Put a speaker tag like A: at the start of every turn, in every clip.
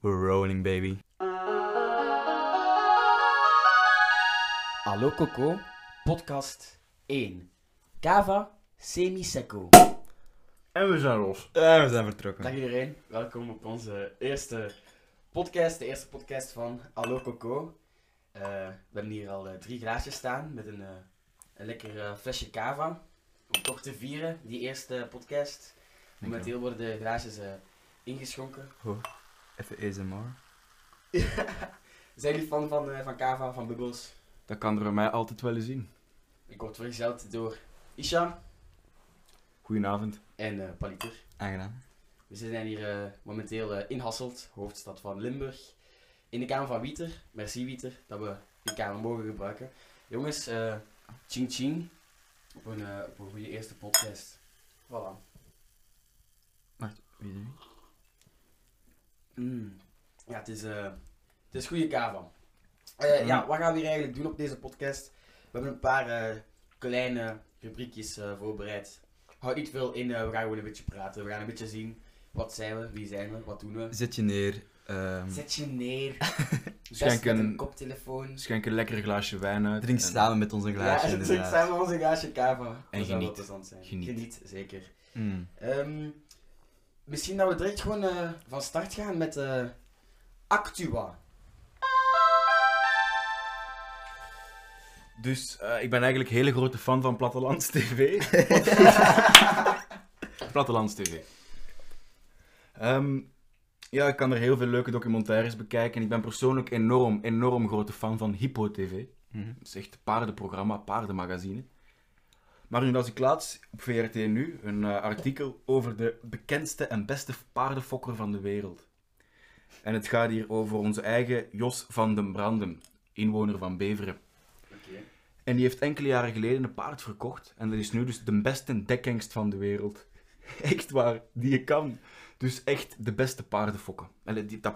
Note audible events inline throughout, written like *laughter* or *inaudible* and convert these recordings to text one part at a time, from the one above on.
A: We're rolling, baby.
B: Hallo Coco, podcast 1. Cava Semi-Secco.
C: En we zijn los.
A: En Eh, we zijn vertrokken.
B: Dag iedereen, welkom op onze eerste podcast, de eerste podcast van Hallo Coco. Eh, we hebben hier al eh, drie glaasjes staan met een, eh, een lekker eh, flesje cava. Om toch te vieren, die eerste podcast. Momenteel worden de glaasjes eh, ingeschonken.
A: Even ASMR.
B: Zijn jullie fan van, eh, van cava, van bubbels?
C: Dat kan er bij mij altijd wel eens in.
B: Ik word vergezeld door Isha
C: Goedenavond.
B: en eh Paliter.
A: Aangenaam.
B: We zijn hier eh, momenteel eh, in Hasselt, hoofdstad van Limburg. In de kamer van Wieter. Merci Wieter dat we die kamer mogen gebruiken. Jongens, eh ching ching. Op een, eh, op een goede eerste podcast. Voilà.
A: Wie is er?
B: Mm. Ja, het is, eh, het is goede kava. Eh,
A: Mm.
B: Ja, wat gaan we hier eigenlijk doen op deze podcast? We hebben een paar eh, kleine rubriekjes eh, voorbereid. Houd niet veel in, eh, we gaan gewoon een beetje praten. We gaan een beetje zien. Wat zijn we? Wie zijn we? Wat doen we?
A: Zet je neer. ehm,
B: Zet je neer. Best
C: Schenk
B: met
C: een-
B: een koptelefoon.
C: Schenk een lekker glaasje wijn uit.
A: drink
C: en
A: samen met ons een glaasje,
B: ja, *laughs* drink
A: inderdaad.
B: samen onze glaasje kava. Dat zou wel
C: geniet.
B: plezant zijn. Geniet.
C: Geniet.
B: zeker.
A: Mm.
B: Ehm, misschien dat we direct gewoon eh, van start gaan met eh, Actua.
C: Dus eh, ik ben eigenlijk een hele grote fan van Plattelands TV. Plattelands TV. Ehm, ja, ik kan er heel veel leuke documentaires bekijken. Ik ben persoonlijk enorm, enorm grote fan van Hippo TV.
A: Mhm.
C: Dat is echt een paardenprogramma, paardenmagazine. Maar nu las ik laatst op VRT nu een eh, artikel over de bekendste en beste paardenfokker van de wereld. En het gaat hier over onze eigen Jos van den Branden, inwoner van Beveren.
B: Oké.
C: En die heeft enkele jaren geleden een paard verkocht. En dat is nu dus de beste dekhengst van de wereld. *laughs* Echt waar, die je kan. Dus echt de beste paardenfokken. Allee, die, dat...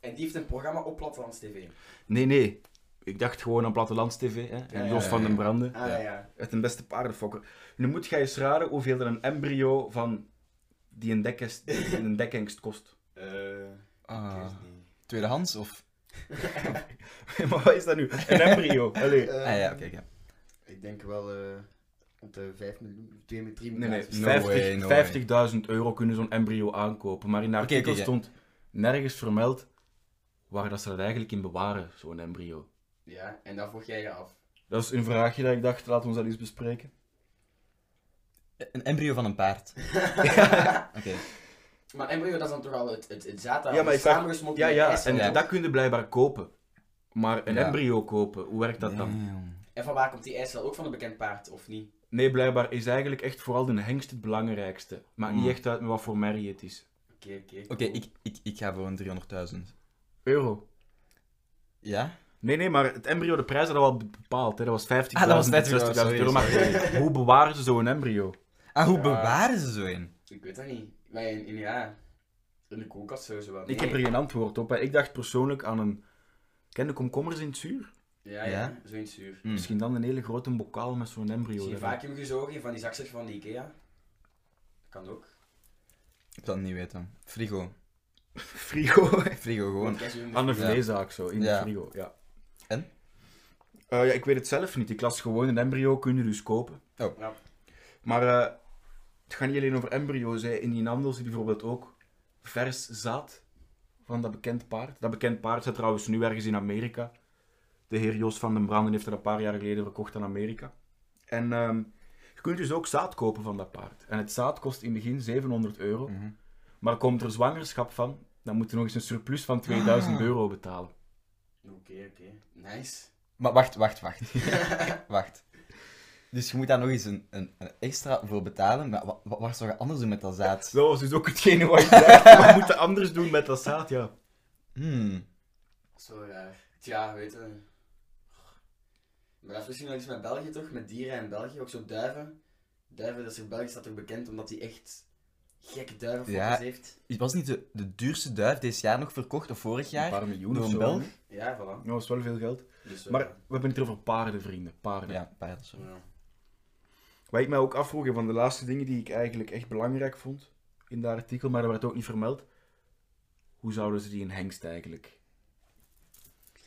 B: En die heeft een programma op Plattelands TV.
C: Nee, nee. Ik dacht gewoon aan Plattelands TV. Hè? En
B: Ja,
C: Jos
B: ja,
C: van
B: ja.
C: den Branden.
B: Ah ja, ja.
C: Het een beste paardenfokker. Nu moet jij eens raden hoeveel er een embryo van die een dekhengst, die *laughs* een dekhengst kost.
B: Eh,
A: Ah,
B: ik weet het niet.
A: tweedehands of?
C: maar wat is dat nu? Een *laughs* embryo. Allee.
B: Ehm,
A: ah ja, oké. ja.
B: Ik denk wel eh, op de 5 miljoen, 2 miljoen, 3
C: Nee,
B: miljoen.
C: nee.
A: no
C: 50
A: way, no
C: 50.000 euro kunnen zo'n embryo aankopen. Maar in de
A: Oké, oké,
C: artikel
A: ja.
C: stond nergens vermeld waar dat ze dat eigenlijk in bewaren, zo'n embryo.
B: Ja, en dan vroeg jij je af. *laughs*
C: Dat is een vraagje dat ik dacht, laten we dat eens bespreken.
A: Een embryo van een paard. Oké.
B: Maar embryo, dat is dan toch al het, het, het zaad dat
C: Ja, maar ik vraag-
B: samengesmolten
C: Ja,
B: met
C: ja,
B: ijs
C: en
B: wordt.
C: dat kun je blijkbaar kopen. Maar een
A: Ja.
C: embryo kopen, hoe werkt dat dan?
A: Damn.
B: En van waar komt die ijs wel ook van een bekend paard, of niet?
C: Nee, blijkbaar is eigenlijk echt vooral de hengst het belangrijkste. Maakt
A: Mm.
C: niet echt uit met wat voor merrie het is.
B: Oké, oké.
A: Oké, ik, ik, ik ga voor een 300.000.
C: Euro.
A: Ja?
C: Nee, nee, maar het embryo, de prijs hadden we al bepaald. Hè. Dat was 50.000,
A: Ah, dat was 50.000,
C: 60.000 euro. Maar *laughs* hoe bewaren ze zo'n embryo?
A: Ah, hoe
B: Ja.
A: bewaren ze zo in?
B: Ik weet dat niet. Maar in, in- ja, in de koelkast sowieso wel.
C: Ik heb er geen antwoord op. hè. Ik dacht persoonlijk aan een... Ken de komkommers in het zuur?
B: Ja, ja,
A: Ja?
B: zo'n zuur.
A: Mm.
C: Misschien dan een hele grote bokaal met zo'n
B: Is
C: embryo.
B: je
C: erin.
B: vacuüm gezogen in van die zakjes van de Ikea? Dat kan ook.
A: Ik zal het niet weten. Frigo.
C: Frigo.
A: Frigo gewoon.
B: Gewoon.
C: Aan de
A: Ja.
C: vleeszaak zo, in
A: Ja.
C: de frigo, ja.
A: En?
C: Eh, ja, ik weet het zelf niet. Ik las gewoon een embryo, kun je dus kopen.
A: Oh.
B: Ja.
C: Maar eh, het gaat niet alleen over embryo's. Hè. In die handel zit bijvoorbeeld ook vers zaad van dat bekend paard. Dat bekend paard zit trouwens nu ergens in Amerika. De heer Jos van den Branden heeft dat een paar jaar geleden verkocht aan Amerika. En ehm, je kunt dus ook zaad kopen van dat paard. En het zaad kost in het begin 700 euro.
A: Mhm.
C: Maar komt er zwangerschap van, dan moet je nog eens een surplus van 2000
A: Ah.
C: euro betalen.
B: Oké, oké. Nice.
A: Maar wacht, wacht,
B: *laughs*
A: wacht. wacht. Dus je moet daar nog eens een, een, een extra voor betalen. Maar wat, wat, wat zou je anders doen met dat zaad?
C: Dat was dus ook hetgene wat ik dacht. We *laughs* moeten anders doen met dat zaad, ja.
A: Hmm.
B: Zo raar. Tja, weet je. Maar dat is misschien wel iets met België toch? Met dieren in België. Ook zo duiven. Duiven, dat is in België staat toch bekend omdat die echt gekke duiven
A: Ja.
B: heeft.
A: Was niet de, de duurste duif deze jaar nog verkocht, of vorig jaar?
C: paar miljoen
A: Door
C: of
A: een
C: zo.
A: Belg?
C: hè.
B: Ja, voilà.
C: Dat was wel veel geld.
B: Dus, eh,
C: Maar we hebben het hier over paarden, vrienden. Paarden.
A: Ja, paarden, sorry.
B: ja.
C: Wat ik mij ook afvroeg, een van de laatste dingen die ik eigenlijk echt belangrijk vond in dat artikel, maar dat werd ook niet vermeld. Hoe zouden ze die in hengst eigenlijk?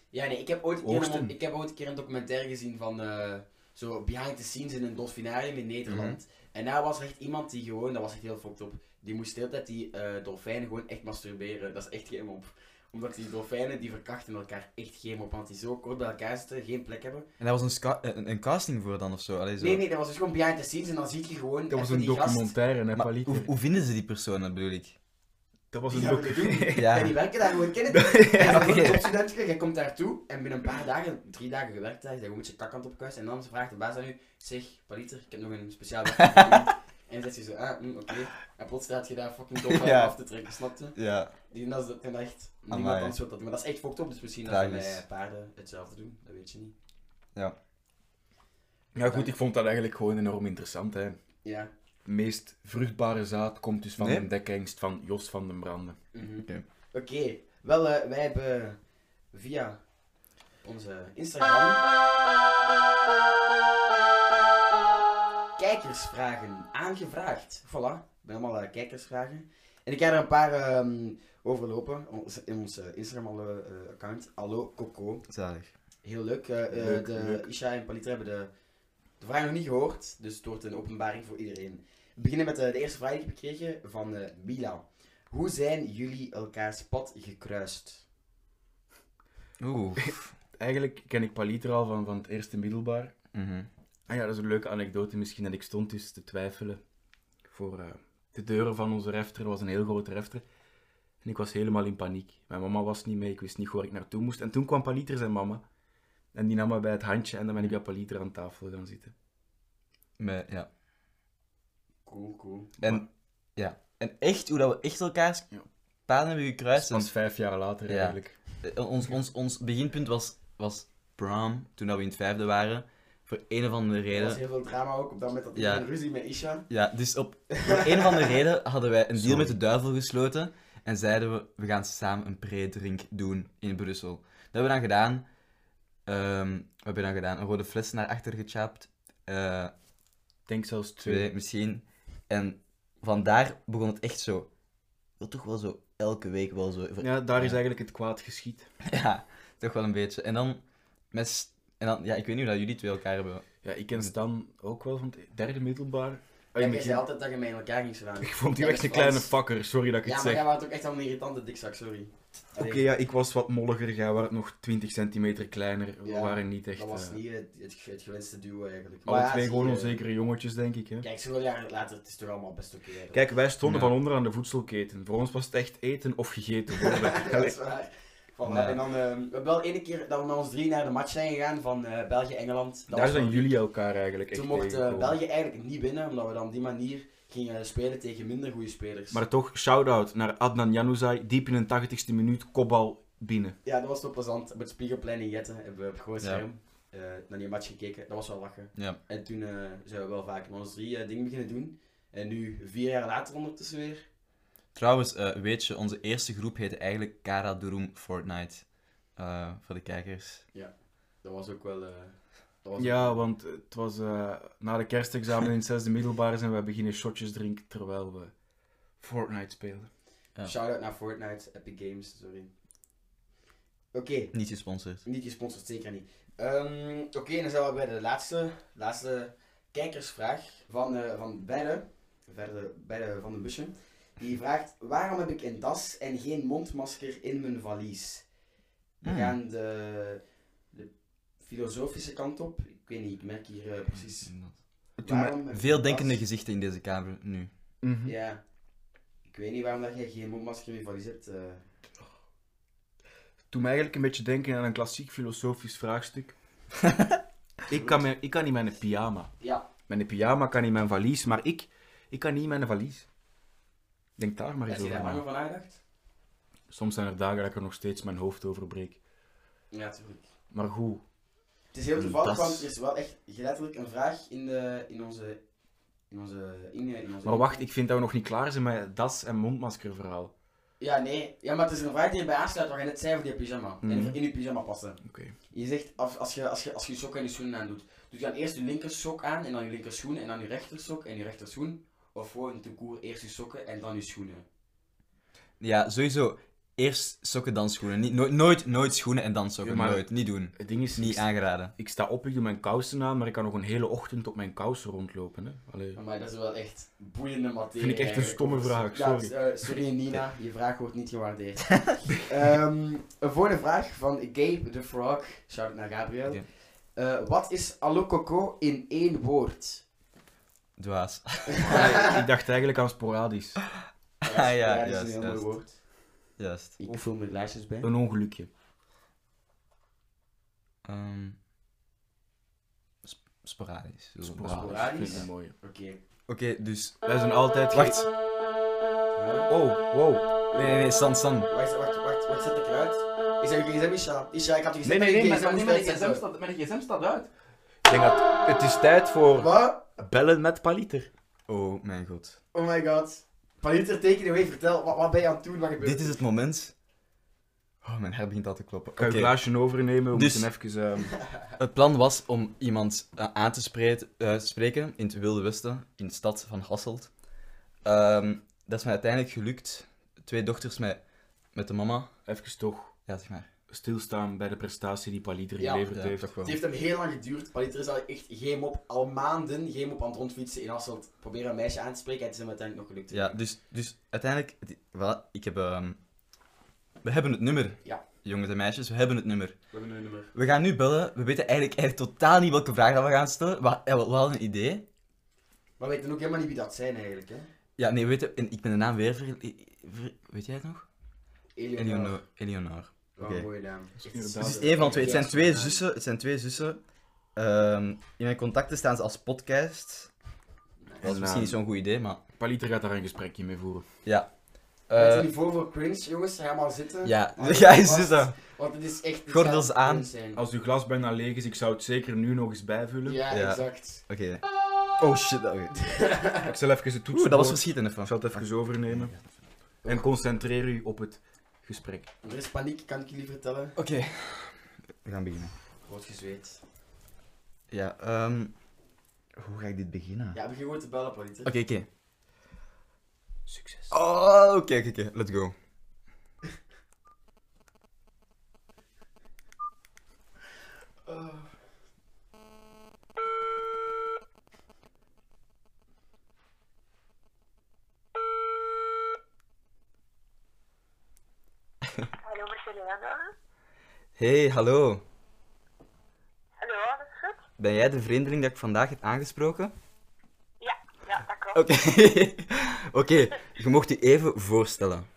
B: Ja, nee, ik heb ooit een keer,
C: Oogsten.
B: een, ik heb ooit een, keer een documentaire gezien van eh, zo behind the scenes in een dolfinarium in Nederland.
C: Mhm.
B: En daar was er echt iemand die gewoon, dat was echt heel fucked op, die moest de hele tijd die eh, dolfijnen gewoon echt masturberen. Dat is echt geen op. Omdat die dolfijnen die verkrachten elkaar echt geen op, want die zo kort bij elkaar zitten, geen plek hebben.
A: En daar was een, sca- een, een casting voor dan of zo? Allee, zo.
B: Nee, nee, dat was dus gewoon behind the scenes en dan zie je gewoon
C: Dat was
B: even
C: een
B: die gast-
C: documentaire, hè,
A: Maar
C: Palit?
A: hoe, hoe vinden ze die personen, bedoel ik?
C: Dat was
B: Die
C: een
B: gaan we
C: documentaire.
A: *laughs*
B: doen.
A: Ja.
B: Ja. Die werken daar gewoon kennen.
A: *laughs*
B: Ja,
A: oké.
B: okay. een topstudentje, jij komt daartoe en binnen een paar dagen, drie dagen gewerkt, daar, je gewoon met je kak aan het opkuisen. En dan vraagt de baas aan u, zeg, Paliter, ik heb nog een speciaal werk voor
A: *laughs*
B: jullie. En dan zegt je zo, ah, mm, oké. En plots staat je daar fucking
A: *laughs*
B: dom
A: Ja.
B: af te trekken, snap je?
A: Ja.
B: Die, dat is dat kan echt niemand
A: Amai.
B: anders wil dat doen. Maar dat is echt fucked op, dus misschien dat ze
A: Tragisch.
B: bij paarden hetzelfde doen, dat weet je niet.
C: Ja goed, ik vond dat eigenlijk gewoon enorm interessant. Hè.
B: Ja.
C: meest vruchtbare zaad komt dus van
A: Nee.
C: een dekhengst van Jos van den Branden.
B: mhm.
A: Oké.
B: Oké, wel, eh, wij hebben via onze Instagram. Kijkersvragen aangevraagd. Voilà, ik ben allemaal eh, kijkersvragen. En ik ga er een paar ehm, overlopen ons- in ons eh, Instagram-account. Allo Coco.
A: Zalig.
B: Heel leuk. eh, eh,
C: Leuk,
B: de,
C: leuk.
B: Isha en Palitra hebben de, de vraag nog niet gehoord, dus het wordt een openbaring voor iedereen. We beginnen met eh, de eerste vraag die ik heb gekregen van eh Mila. Hoe zijn jullie elkaars pad gekruist?
A: Oeh. *laughs*
C: Eigenlijk ken ik Palit er al van, van het eerste middelbaar.
A: Mhm.
C: Ah ja, dat is een leuke anekdote misschien. En ik stond dus te twijfelen voor eh, de deuren van onze refter. Dat was een heel grote refter. En ik was helemaal in paniek. Mijn mama was niet mee, ik wist niet waar ik naartoe moest. En toen kwam Paliter zijn mama. En die nam me bij het handje en dan ben ik bij Paliter aan tafel gaan zitten.
A: Maar, ja.
B: Cool, cool.
A: En, ja. en echt, hoe dat we echt elkaars
C: Ja.
A: paden hebben gekruist.
C: Dat is vijf jaar later
A: Ja.
C: eigenlijk.
A: Eh, Ons, ons, ons beginpunt was, was prom, toen dat we in het vijfde waren. Voor een of andere
B: Er was
A: reden.
B: heel veel drama ook op dat moment dat ik
A: Ja.
B: een ruzie met Isha.
A: Ja, dus op, voor een of andere reden hadden wij een deal
C: Sorry.
A: met de duivel gesloten. En zeiden we, we gaan samen een pre-drink doen in Brussel. Dat hebben we dan gedaan. Ehm, wat hebben we dan gedaan? Een rode fles naar achter gechapt. Eh,
C: Ik denk zelfs twee.
A: twee misschien. En vandaar begon het echt zo. Wel toch wel zo elke week wel zo.
C: Ja, daar is eigenlijk het kwaad geschied.
A: *laughs* Ja, toch wel een beetje. En dan met. s- En dan, ja, ik weet niet hoe dat jullie twee elkaar hebben.
C: Ja, ik ken Stan ook wel van het derde middelbaar.
B: Ja,
C: Ah,
B: jij
C: ik-
B: zei altijd dat je mij in elkaar ging slaan.
C: *laughs* Ik vond die
B: Ja,
C: echt een
B: dat
C: kleine
B: was-
C: fakker, sorry dat ik
B: Ja,
C: het
B: maar
C: zeg.
B: jij
C: Oké,
B: was ook echt al een irritante dikzak, sorry. Allee,
C: ja, ik was wat molliger, jij was nog 20 centimeter kleiner. We
B: Ja,
C: waren niet echt...
B: dat was
C: eh,
B: niet het, het, het gewenste duo eigenlijk.
C: alle
B: Maar ja,
C: twee
B: zie
C: gewoon
B: je,
C: onzekere jongetjes, denk ik. Hè?
B: Kijk, zoveel jaar later, het is toch allemaal best oké. eigenlijk.
C: Kijk, wij stonden
A: Ja.
C: van onder aan de voedselketen. Voor ons was het echt eten of gegeten
B: *laughs*
C: worden.
B: dat is waar. Voilà.
A: Nee.
B: En dan, eh, we hebben wel ene keer dat we met ons drie naar de match zijn gegaan van eh, België-Engeland. Dat
C: Daar
B: was
C: zijn
B: wel-
C: jullie elkaar eigenlijk echt
B: Toen mocht eh,
C: tegengekomen.
B: België eigenlijk niet winnen, omdat we dan op die manier gingen spelen tegen minder goede spelers.
C: Maar toch, shout-out naar Adnan Januzaj. Diep in de 80ste minuut, kopbal binnen.
B: Ja, dat was toch plezant. Op het Spiegelplein in Jetten hebben we op groot
A: Ja.
B: scherm eh, naar die match gekeken. Dat was wel lachen.
A: Ja.
B: En toen eh, zijn we wel vaak met ons drie eh, dingen beginnen doen. En nu, vier jaar later ondertussen weer.
A: Trouwens, eh, weet je, onze eerste groep heette eigenlijk Cara Durum Fortnite. Eh, voor de kijkers.
B: Dat was ook wel... eh, dat was
C: Ja,
B: ook-
C: want het was eh, na de kerstexamen in het zesde middelbaar zijn wij beginnen shotjes drinken terwijl we Fortnite speelden.
A: ja.
B: Shout-out naar Fortnite, Epic Games, sorry. Oké,
A: Niet gesponsord.
B: niet gesponsord, zeker niet. Ehm, Oké, dan zijn we bij de laatste, laatste kijkersvraag van, eh van Belle, verder Belle van de Busje. Die vraagt, waarom heb ik een das en geen mondmasker in mijn valies? We
A: Hmm.
B: gaan de, de filosofische kant op. Ik weet niet, ik merk hier eh, precies. waarom heb ik
A: Veel
B: een
A: denkende
B: das?
A: gezichten in deze kamer nu.
C: Mhm.
B: Ja. Ik weet niet waarom dat jij geen mondmasker in je valies hebt. eh.
C: Toen me eigenlijk een beetje denken aan een klassiek filosofisch
B: *laughs*
C: vraagstuk. ik, kan mijn, ik kan niet mijn pyjama.
B: Ja,
C: Mijn pyjama kan niet mijn valies, maar ik, ik kan niet mijn valies. Denk daar maar
B: heb
C: eens
B: je
C: over
B: daar
C: na.
B: langer van nagedacht?
C: Soms zijn er dagen dat ik er nog steeds mijn hoofd over breek.
B: Ja, natuurlijk.
C: Maar goed,
B: Het is heel
A: Een
B: toevallig,
A: das.
B: want er is wel echt letterlijk een vraag in, de, in onze... In onze, in, eh, in onze
C: maar wacht, ik vind dat we nog niet klaar zijn met das- en mondmaskerverhaal.
B: Ja, nee. Ja, maar het is een vraag die erbij aansluit wat je net zei over die pyjama.
C: Mhm.
B: En in je pyjama passen.
C: Oké.
B: Je zegt, als, als, je, als, je, als je je sok en je schoenen aandoet, doe je dan eerst je linker sok aan en dan je linker schoen en dan je rechter sok en je rechter schoen? Of gewoon een koer eerst je sokken en dan je schoenen?
A: Ja, sowieso. Eerst sokken, dan schoenen. Niet, nooit, nooit, nooit schoenen en dan sokken.
C: Ja, maar-
A: Nooit. Niet doen.
C: Het ding is,
A: Niet
C: ik,
A: aangeraden.
C: ik sta op, ik doe mijn kousen aan, maar ik kan nog een hele ochtend op mijn kousen rondlopen. Hè? Allee.
B: Maar dat is wel echt boeiende materie.
C: Vind ik echt een stomme
B: eigenlijk.
C: vraag,
B: Ja, eh, sorry Nina, je vraag wordt niet
C: *laughs*
B: gewaardeerd. Ehm, een volgende vraag van Gabe the Frog. Shout-out naar Gabriel.
A: Ja.
B: Eh, wat is Allo Coco in één
C: *laughs*
B: woord?
A: Dwaas. *laughs*
C: Ah, Allee, ik dacht eigenlijk aan sporadisch.
B: Ah
A: ja,
B: dat is
A: juist,
B: een heel mooi
A: juist.
B: woord.
A: Juist.
B: Ik vul mijn lijstjes bij.
C: Een ongelukje.
A: Ehm, sp- sporadisch. Zo.
B: Sporadisch? Eh,
C: Vind ik een mooie.
B: Oké.
A: Oké, dus...
C: Wij zijn altijd...
A: Wacht.
C: Oh, wow.
A: Nee, nee, nee, Stan, Stan.
B: Wacht, wacht, wacht, wat zet ik eruit? Is dat je gsm, Isha? Isha, ik had je
C: Nee,
B: gezegd dat
C: nee, nee,
B: je
C: maar-
B: gsm moest
C: nee, mijn
B: uitzetten.
C: gsm staat, mijn gsm staat uit. Ik denk dat... Het is tijd voor
B: Wat?
C: bellen met Paliter.
A: Oh, mijn god.
B: Oh my god. Paliter, teken away, vertel, wat, wat ben je aan het doen, wat gebeurt
A: Dit is het moment... Oh, mijn hart begint al te kloppen.
C: Ik ga
A: Oké.
C: een glaasje overnemen, we
A: Dus-
C: moeten even... ehm,
A: Het plan was om iemand eh, aan te spreet- eh, spreken in het Wilde Westen, in de stad van Hasselt. Ehm, dat is mij uiteindelijk gelukt. Twee dochters met, met de mama.
C: even toch
A: Ja, zeg maar.
C: stilstaan bij de prestatie die Paliter
B: Ja,
C: geleverd
A: Ja,
C: heeft.
A: toch wel.
B: Het heeft hem heel lang geduurd. Paliter is al echt geen op, al maanden geen op aan het rondfietsen in Hasselt. Proberen een meisje aan te spreken en het is hem uiteindelijk nog gelukt.
A: Ja, dus, dus uiteindelijk... het- Wel, ik heb... ehm, we hebben het nummer.
B: Ja.
A: Jongens en meisjes, we hebben het nummer.
B: We hebben een nummer.
A: We gaan nu bellen. We weten eigenlijk, eigenlijk totaal niet welke vraag dat we gaan stellen. Maar eh, we, we hadden een idee.
B: Maar we weten ook helemaal niet wie dat zijn eigenlijk, hè?
A: Ja, nee, weet je, en ik ben de naam weer... ver- ver- weet jij het nog?
B: Eleonore.
A: Eleonor. Eleonor.
B: Wat
A: Oké.
B: een mooie naam.
A: Het
C: inderdaad- Het
A: is
B: eh,
A: één Dus van de twee. Het zijn twee zussen. Het zijn twee zussen. Ehm, in mijn contacten staan ze als podcast. Dat is
C: En,
A: misschien niet
C: ehm,
A: zo'n goed idee, maar...
C: Paliter gaat daar een gesprekje mee voeren.
A: Ja.
B: Het is
A: Eh,
B: niveau voor cringe, jongens. Ga maar zitten.
A: ja, *laughs*
B: Hou je
A: ja, is
B: vast,
A: dit dat?
B: Want het is echt... dit
A: Gordels
B: gaat
A: aan. Oh,
B: cringe zijn.
C: Als uw glas bijna leeg is, ik zou het zeker nu nog eens bijvullen.
B: Ja,
A: Ja.
B: exact.
A: Oké. Oh shit, oké.
C: Ik zal even het
A: Oeh,
C: toetsen.
A: dat was verschieten
C: Ik
A: ervan.
C: zal het even overnemen. En concentreer u op het gesprek.
B: Er is paniek, kan ik jullie vertellen.
A: Oké. We gaan beginnen.
B: Groot gezweet.
A: Ja, ehm... Hoe ga ik dit beginnen?
B: Ja, begin gewoon te bellen, Paliter.
A: Oké, oké.
C: Succes.
A: Oh, oké, oké, oké. Let's go.
B: Oh.
D: Hallo, met Juliana.
A: Hey, hallo.
D: Hallo, alles goed?
A: Ben jij de vreemdeling dat ik vandaag heb aangesproken?
D: Ja, ja, dat klopt.
A: Oké. *laughs* oké, je mocht je even voorstellen.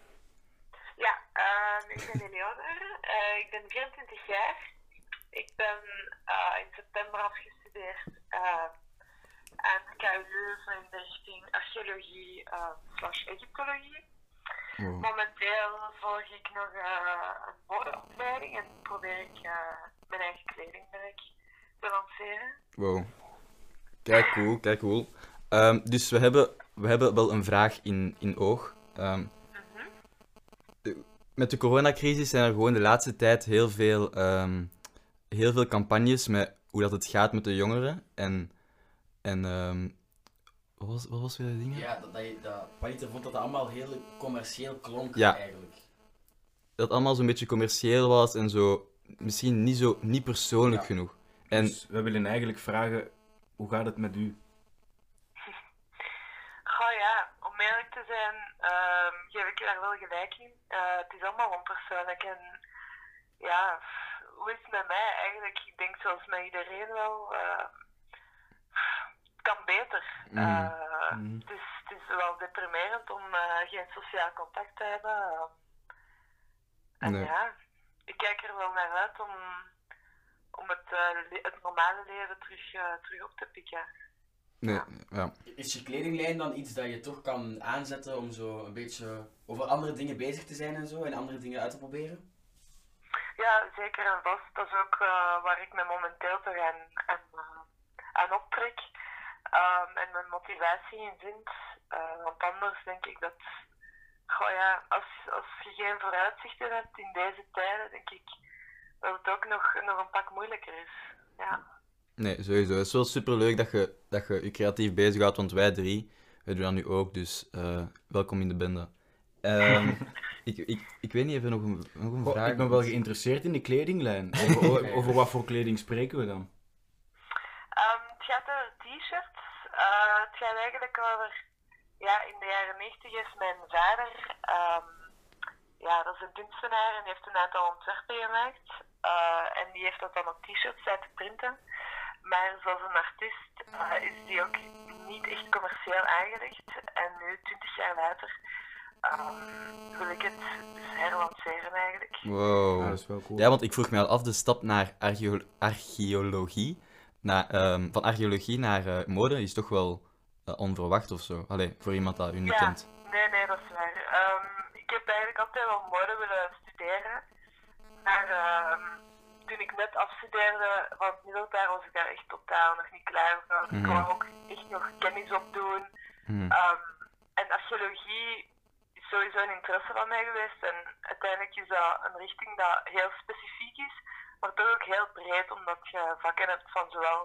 D: Ja, ehm, ik ben Eleonore. Eh, ik ben 24 jaar. Ik ben eh, in september afgestudeerd eh, aan de KU Leuven in de richting archeologie eh, slash egyptologie.
A: Wow.
D: Momenteel volg ik nog eh, een modeopleiding en probeer ik eh, mijn eigen kledingmerk te lanceren.
A: Wow. Kijk cool, kijk cool. Ehm, dus we hebben, we hebben wel een vraag in, in oog. Ehm, de- met de coronacrisis zijn er gewoon de laatste tijd heel veel, ehm, heel veel campagnes met hoe dat het gaat met de jongeren. En, en ehm, wat was, wat was weer dat ding?
B: Ja, dat, dat, je- dat, Paliter vond dat dat allemaal heel commercieel klonk
A: Ja.
B: eigenlijk.
A: Dat het allemaal zo'n beetje commercieel was en zo misschien niet, zo, niet persoonlijk
B: Ja.
A: genoeg. En
C: Dus we willen eigenlijk vragen, hoe gaat het met u?
D: Goh ja, om eerlijk te zijn, ehm, geef ik je daar wel gelijk in. Eh, het is allemaal onpersoonlijk en ja, pff, hoe is het met mij eigenlijk? Ik denk zoals met iedereen wel, eh, pff, het kan beter. Eh,
C: Mhm.
D: het, is, het is wel deprimerend om eh, geen sociaal contact te hebben. eh. en
A: Nee.
D: ja, ik kijk er wel naar uit om, om het, eh, le- het normale leven terug, eh, terug op te pikken.
A: nee, ja.
B: Is je kledinglijn dan iets dat je toch kan aanzetten om zo een beetje over andere dingen bezig te zijn en zo en andere dingen uit te proberen?
D: Ja, zeker en vast. Dat is ook eh, waar ik me momenteel toch aan, aan, eh, aan optrek ehm, en mijn motivatie in vind. Eh, want anders denk ik dat, goh ja, als, als je geen vooruitzichten hebt in deze tijden, denk ik dat het ook nog, nog een pak moeilijker is. Ja.
A: Nee, sowieso. Het is wel superleuk dat je dat je, je creatief bezighoudt, want wij drie, we doen dat nu ook, dus eh, welkom in de bende.
C: *laughs*
A: Ehm, ik, ik, ik weet niet, even nog een, nog een
C: Goh,
A: vraag.
C: Oh, ik ben wel geïnteresseerd in de kledinglijn. Over, over, over wat voor kleding spreken we dan?
D: Ehm, het gaat over t-shirts. Eh, het gaat eigenlijk over... Ja, in de jaren 90 is mijn vader... ehm, ja, dat is een kunstenaar en die heeft een aantal ontwerpen gemaakt. Eh, en die heeft dat dan op t-shirts laten printen. Maar zoals een artiest eh, is die ook niet echt commercieel aangelegd. En nu, 20 jaar later, ehm, wil ik het dus herlanceren eigenlijk.
A: Wow.
C: Ah, dat is wel cool.
A: Ja, want ik vroeg me al af de stap naar archeo- archeologie. Naar, ehm, van archeologie naar eh, mode is toch wel eh, onverwacht of zo. Allee, voor iemand dat u niet
D: Ja.
A: kent.
D: Nee, nee, dat is waar. Ehm, ik heb eigenlijk altijd wel mode willen studeren. Maar ehm, toen ik net afstudeerde van het middelbaar was ik daar echt totaal nog niet klaar voor. Ik
A: Mhm.
D: wou ook echt nog kennis opdoen.
A: Hm.
D: Ehm, en archeologie is sowieso een interesse van mij geweest. En uiteindelijk is dat een richting dat heel specifiek is, maar toch ook heel breed, omdat je vakken hebt van zowel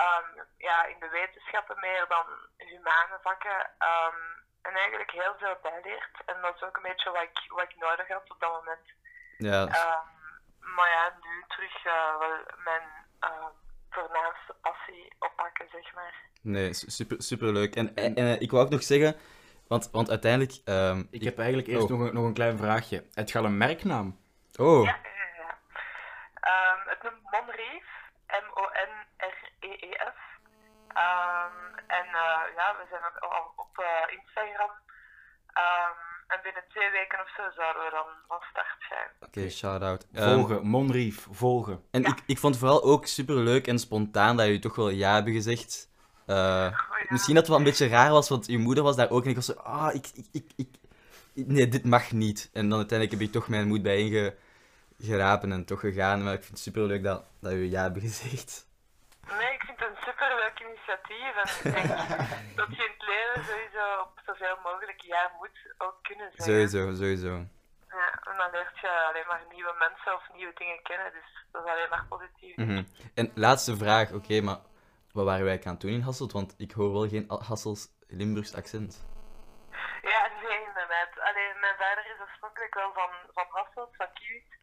D: ehm, ja, in de wetenschappen meer dan humane vakken. ehm, en eigenlijk heel veel bijleert. En dat is ook een beetje wat ik, wat ik nodig had op dat moment.
A: Ja, s-
D: Ehm, maar ja, nu terug eh, wel mijn eh, voornaamste passie oppakken, zeg maar.
A: nee, su- super, superleuk. En, en, eh, ik wou ook nog zeggen, want, want uiteindelijk... ehm,
C: Ik heb eigenlijk
A: Oh.
C: eerst nog, een, nog een klein vraagje. Het gaat een merknaam.
A: Oh,
D: Ja, ja, ja. Ehm, het noemt Monreef, M-O-N-R-E-E-F. E Ehm, en eh, ja, we zijn ook al op eh, Instagram. Ehm, en binnen twee weken of zo zouden we dan van start zijn.
A: oké, shout-out. Ehm,
C: Volgen, Monrief, volgen.
A: en ik, ik vond vooral ook superleuk en spontaan dat jullie toch wel ja hebben gezegd. Eh,
D: Oh, ja.
A: Misschien dat het wel een beetje raar was, want uw moeder was daar ook en ik was zo, ah, ik, ik, ik, ik, ik- nee, dit mag niet. En dan uiteindelijk heb ik toch mijn moed bijeen ge- gerapen en toch gegaan, maar ik vind het superleuk dat, dat u ja hebben *laughs* gezegd.
D: Nee, ik vind het een superleuk initiatief. En ik denk dat je in het leven sowieso op zoveel mogelijk ja moet ook kunnen zijn.
A: Sowieso, sowieso.
D: Ja, en dan leert je alleen maar nieuwe mensen of nieuwe dingen kennen. Dus dat is alleen maar positief.
A: Mhm. En laatste vraag, oké, maar wat waren wij aan het doen in Hasselt? Want ik hoor wel geen Al- Hassels Limburgs accent.
D: Ja, nee, inderdaad. Alleen mijn vader is oorspronkelijk wel van, van Hasselt, van Kiewit.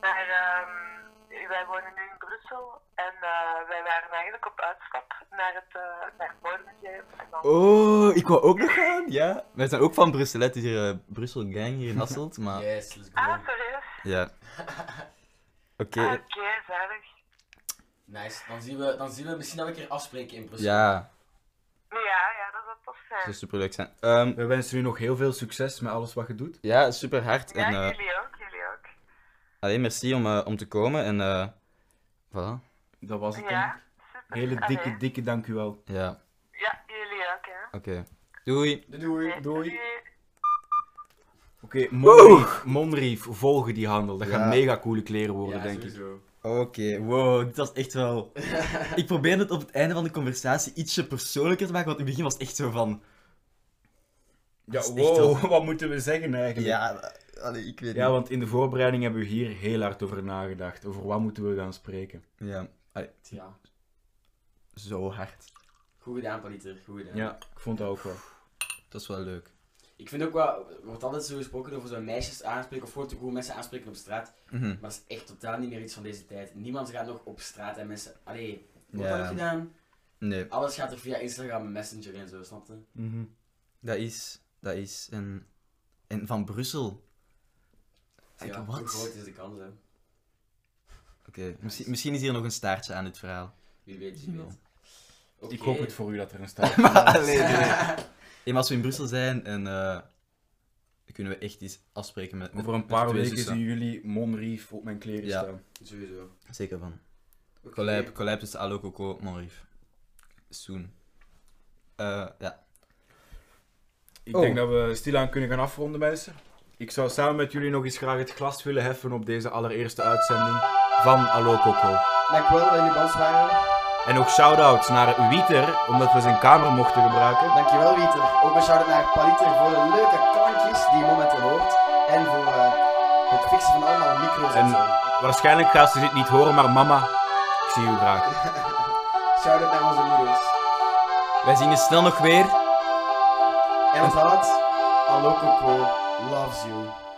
D: Maar ehm, wij wonen nu in Brussel en eh, wij waren eigenlijk op uitstap naar het, eh naar het Modemuseum. En dan...
A: Oh, ik wou ook nog gaan, ja. Wij zijn ook van Brussel, hè. het is hier eh, Brussel Gang
D: *laughs*
A: hier in Hasselt, maar...
B: Yes, let's go.
D: Ah, serieus?
A: Ja. Oké,
D: Ah, Oké, zalig.
B: Nice. Dan zien, we, dan zien we misschien dat we een keer afspreken in Brussel.
A: ja.
D: Ja, ja, dat zou tof
A: zou
D: zijn.
A: superleuk zijn. Ehm,
C: We wensen u nog heel veel succes met alles wat je doet.
A: ja, super hard.
D: Ja,
A: En, eh,
D: jullie ook, jullie ook.
A: alleen merci om, eh, om te komen. En eh voilà.
C: Dat was het
D: Ja,
C: dan.
D: super.
C: Hele
D: Allee.
C: dikke, dikke dank u wel.
A: Ja,
D: Ja, jullie ook, hè.
A: oké. Doei.
B: Doei, Doei.
D: Doei.
C: Oké, Monrief, Monrief, volgen die handel. Dat
A: Ja.
C: gaan mega coole kleren worden,
B: Ja,
C: denk ik.
B: sowieso.
A: Oké, wow, dit was echt wel... ik probeerde het op het einde van de conversatie ietsje persoonlijker te maken, want in het begin was het echt zo van...
C: Ja,
A: Dat is echt wel-
C: wat moeten we zeggen eigenlijk? Ja.
A: eh, allee, ik weet
C: want in de voorbereiding hebben we hier heel hard over nagedacht. Over wat moeten we gaan spreken.
A: Ja, allee,
B: Ja.
A: zo hard.
B: Goed gedaan, Paliter. Goed gedaan.
C: Ja, ik vond dat ook wel.
A: Dat is wel leuk.
B: Ik vind ook wel, er wordt altijd zo gesproken over zo'n meisjes aanspreken of gewoon hoe mensen aanspreken op straat.
A: Mhm.
B: Maar dat is echt totaal niet meer iets van deze tijd. Niemand gaat nog op straat en mensen. Allee, wordt
A: Ja.
B: dat nog gedaan?
A: Nee,
B: Alles gaat er via Instagram en Messenger en zo, snap je?
C: Mhm.
A: dat is... Dat is... En, en van Brussel. Like,
B: Ja, hoe
A: wat?
B: groot
A: Oké,
B: is de kans, hè?
A: misschien, misschien is hier nog een staartje aan dit verhaal.
B: Wie weet, wie weet. Oké.
C: Ik hoop het voor u dat er een staat.
A: Allee, nee. *laughs* Hey, maar als we in Brussel zijn en eh, kunnen we echt iets afspreken met. met-
C: Over een
A: met
C: paar
A: twee
C: weken
A: zussen.
C: zien jullie Monrief op mijn kleren
A: Ja.
C: staan.
B: Sowieso.
A: Zeker van.
B: Oké.
A: Collab, collab tussen Allo Coco, Monrief. Soon. Eh, ja.
C: Ik
A: Oh.
C: denk dat we stilaan kunnen gaan afronden, mensen. Ik zou samen met jullie nog eens graag het glas willen heffen op deze allereerste uitzending van Allo Coco.
B: Dankjewel dat jullie bij ons waren.
C: En nog shout-outs naar Wieter, omdat we zijn kamer mochten gebruiken.
B: Dankjewel, Wieter. Ook een shout-out naar Paliter voor de leuke klankjes die je momenteel hoort. En voor eh, het fixen van allemaal micro's en,
C: En-
B: zo.
C: Waarschijnlijk gaat ze dit niet horen, maar mama, ik zie u graag.
B: Shout-out naar onze moeders.
A: Wij zien je snel nog weer.
B: En onthoud, Allo Coco. loves you.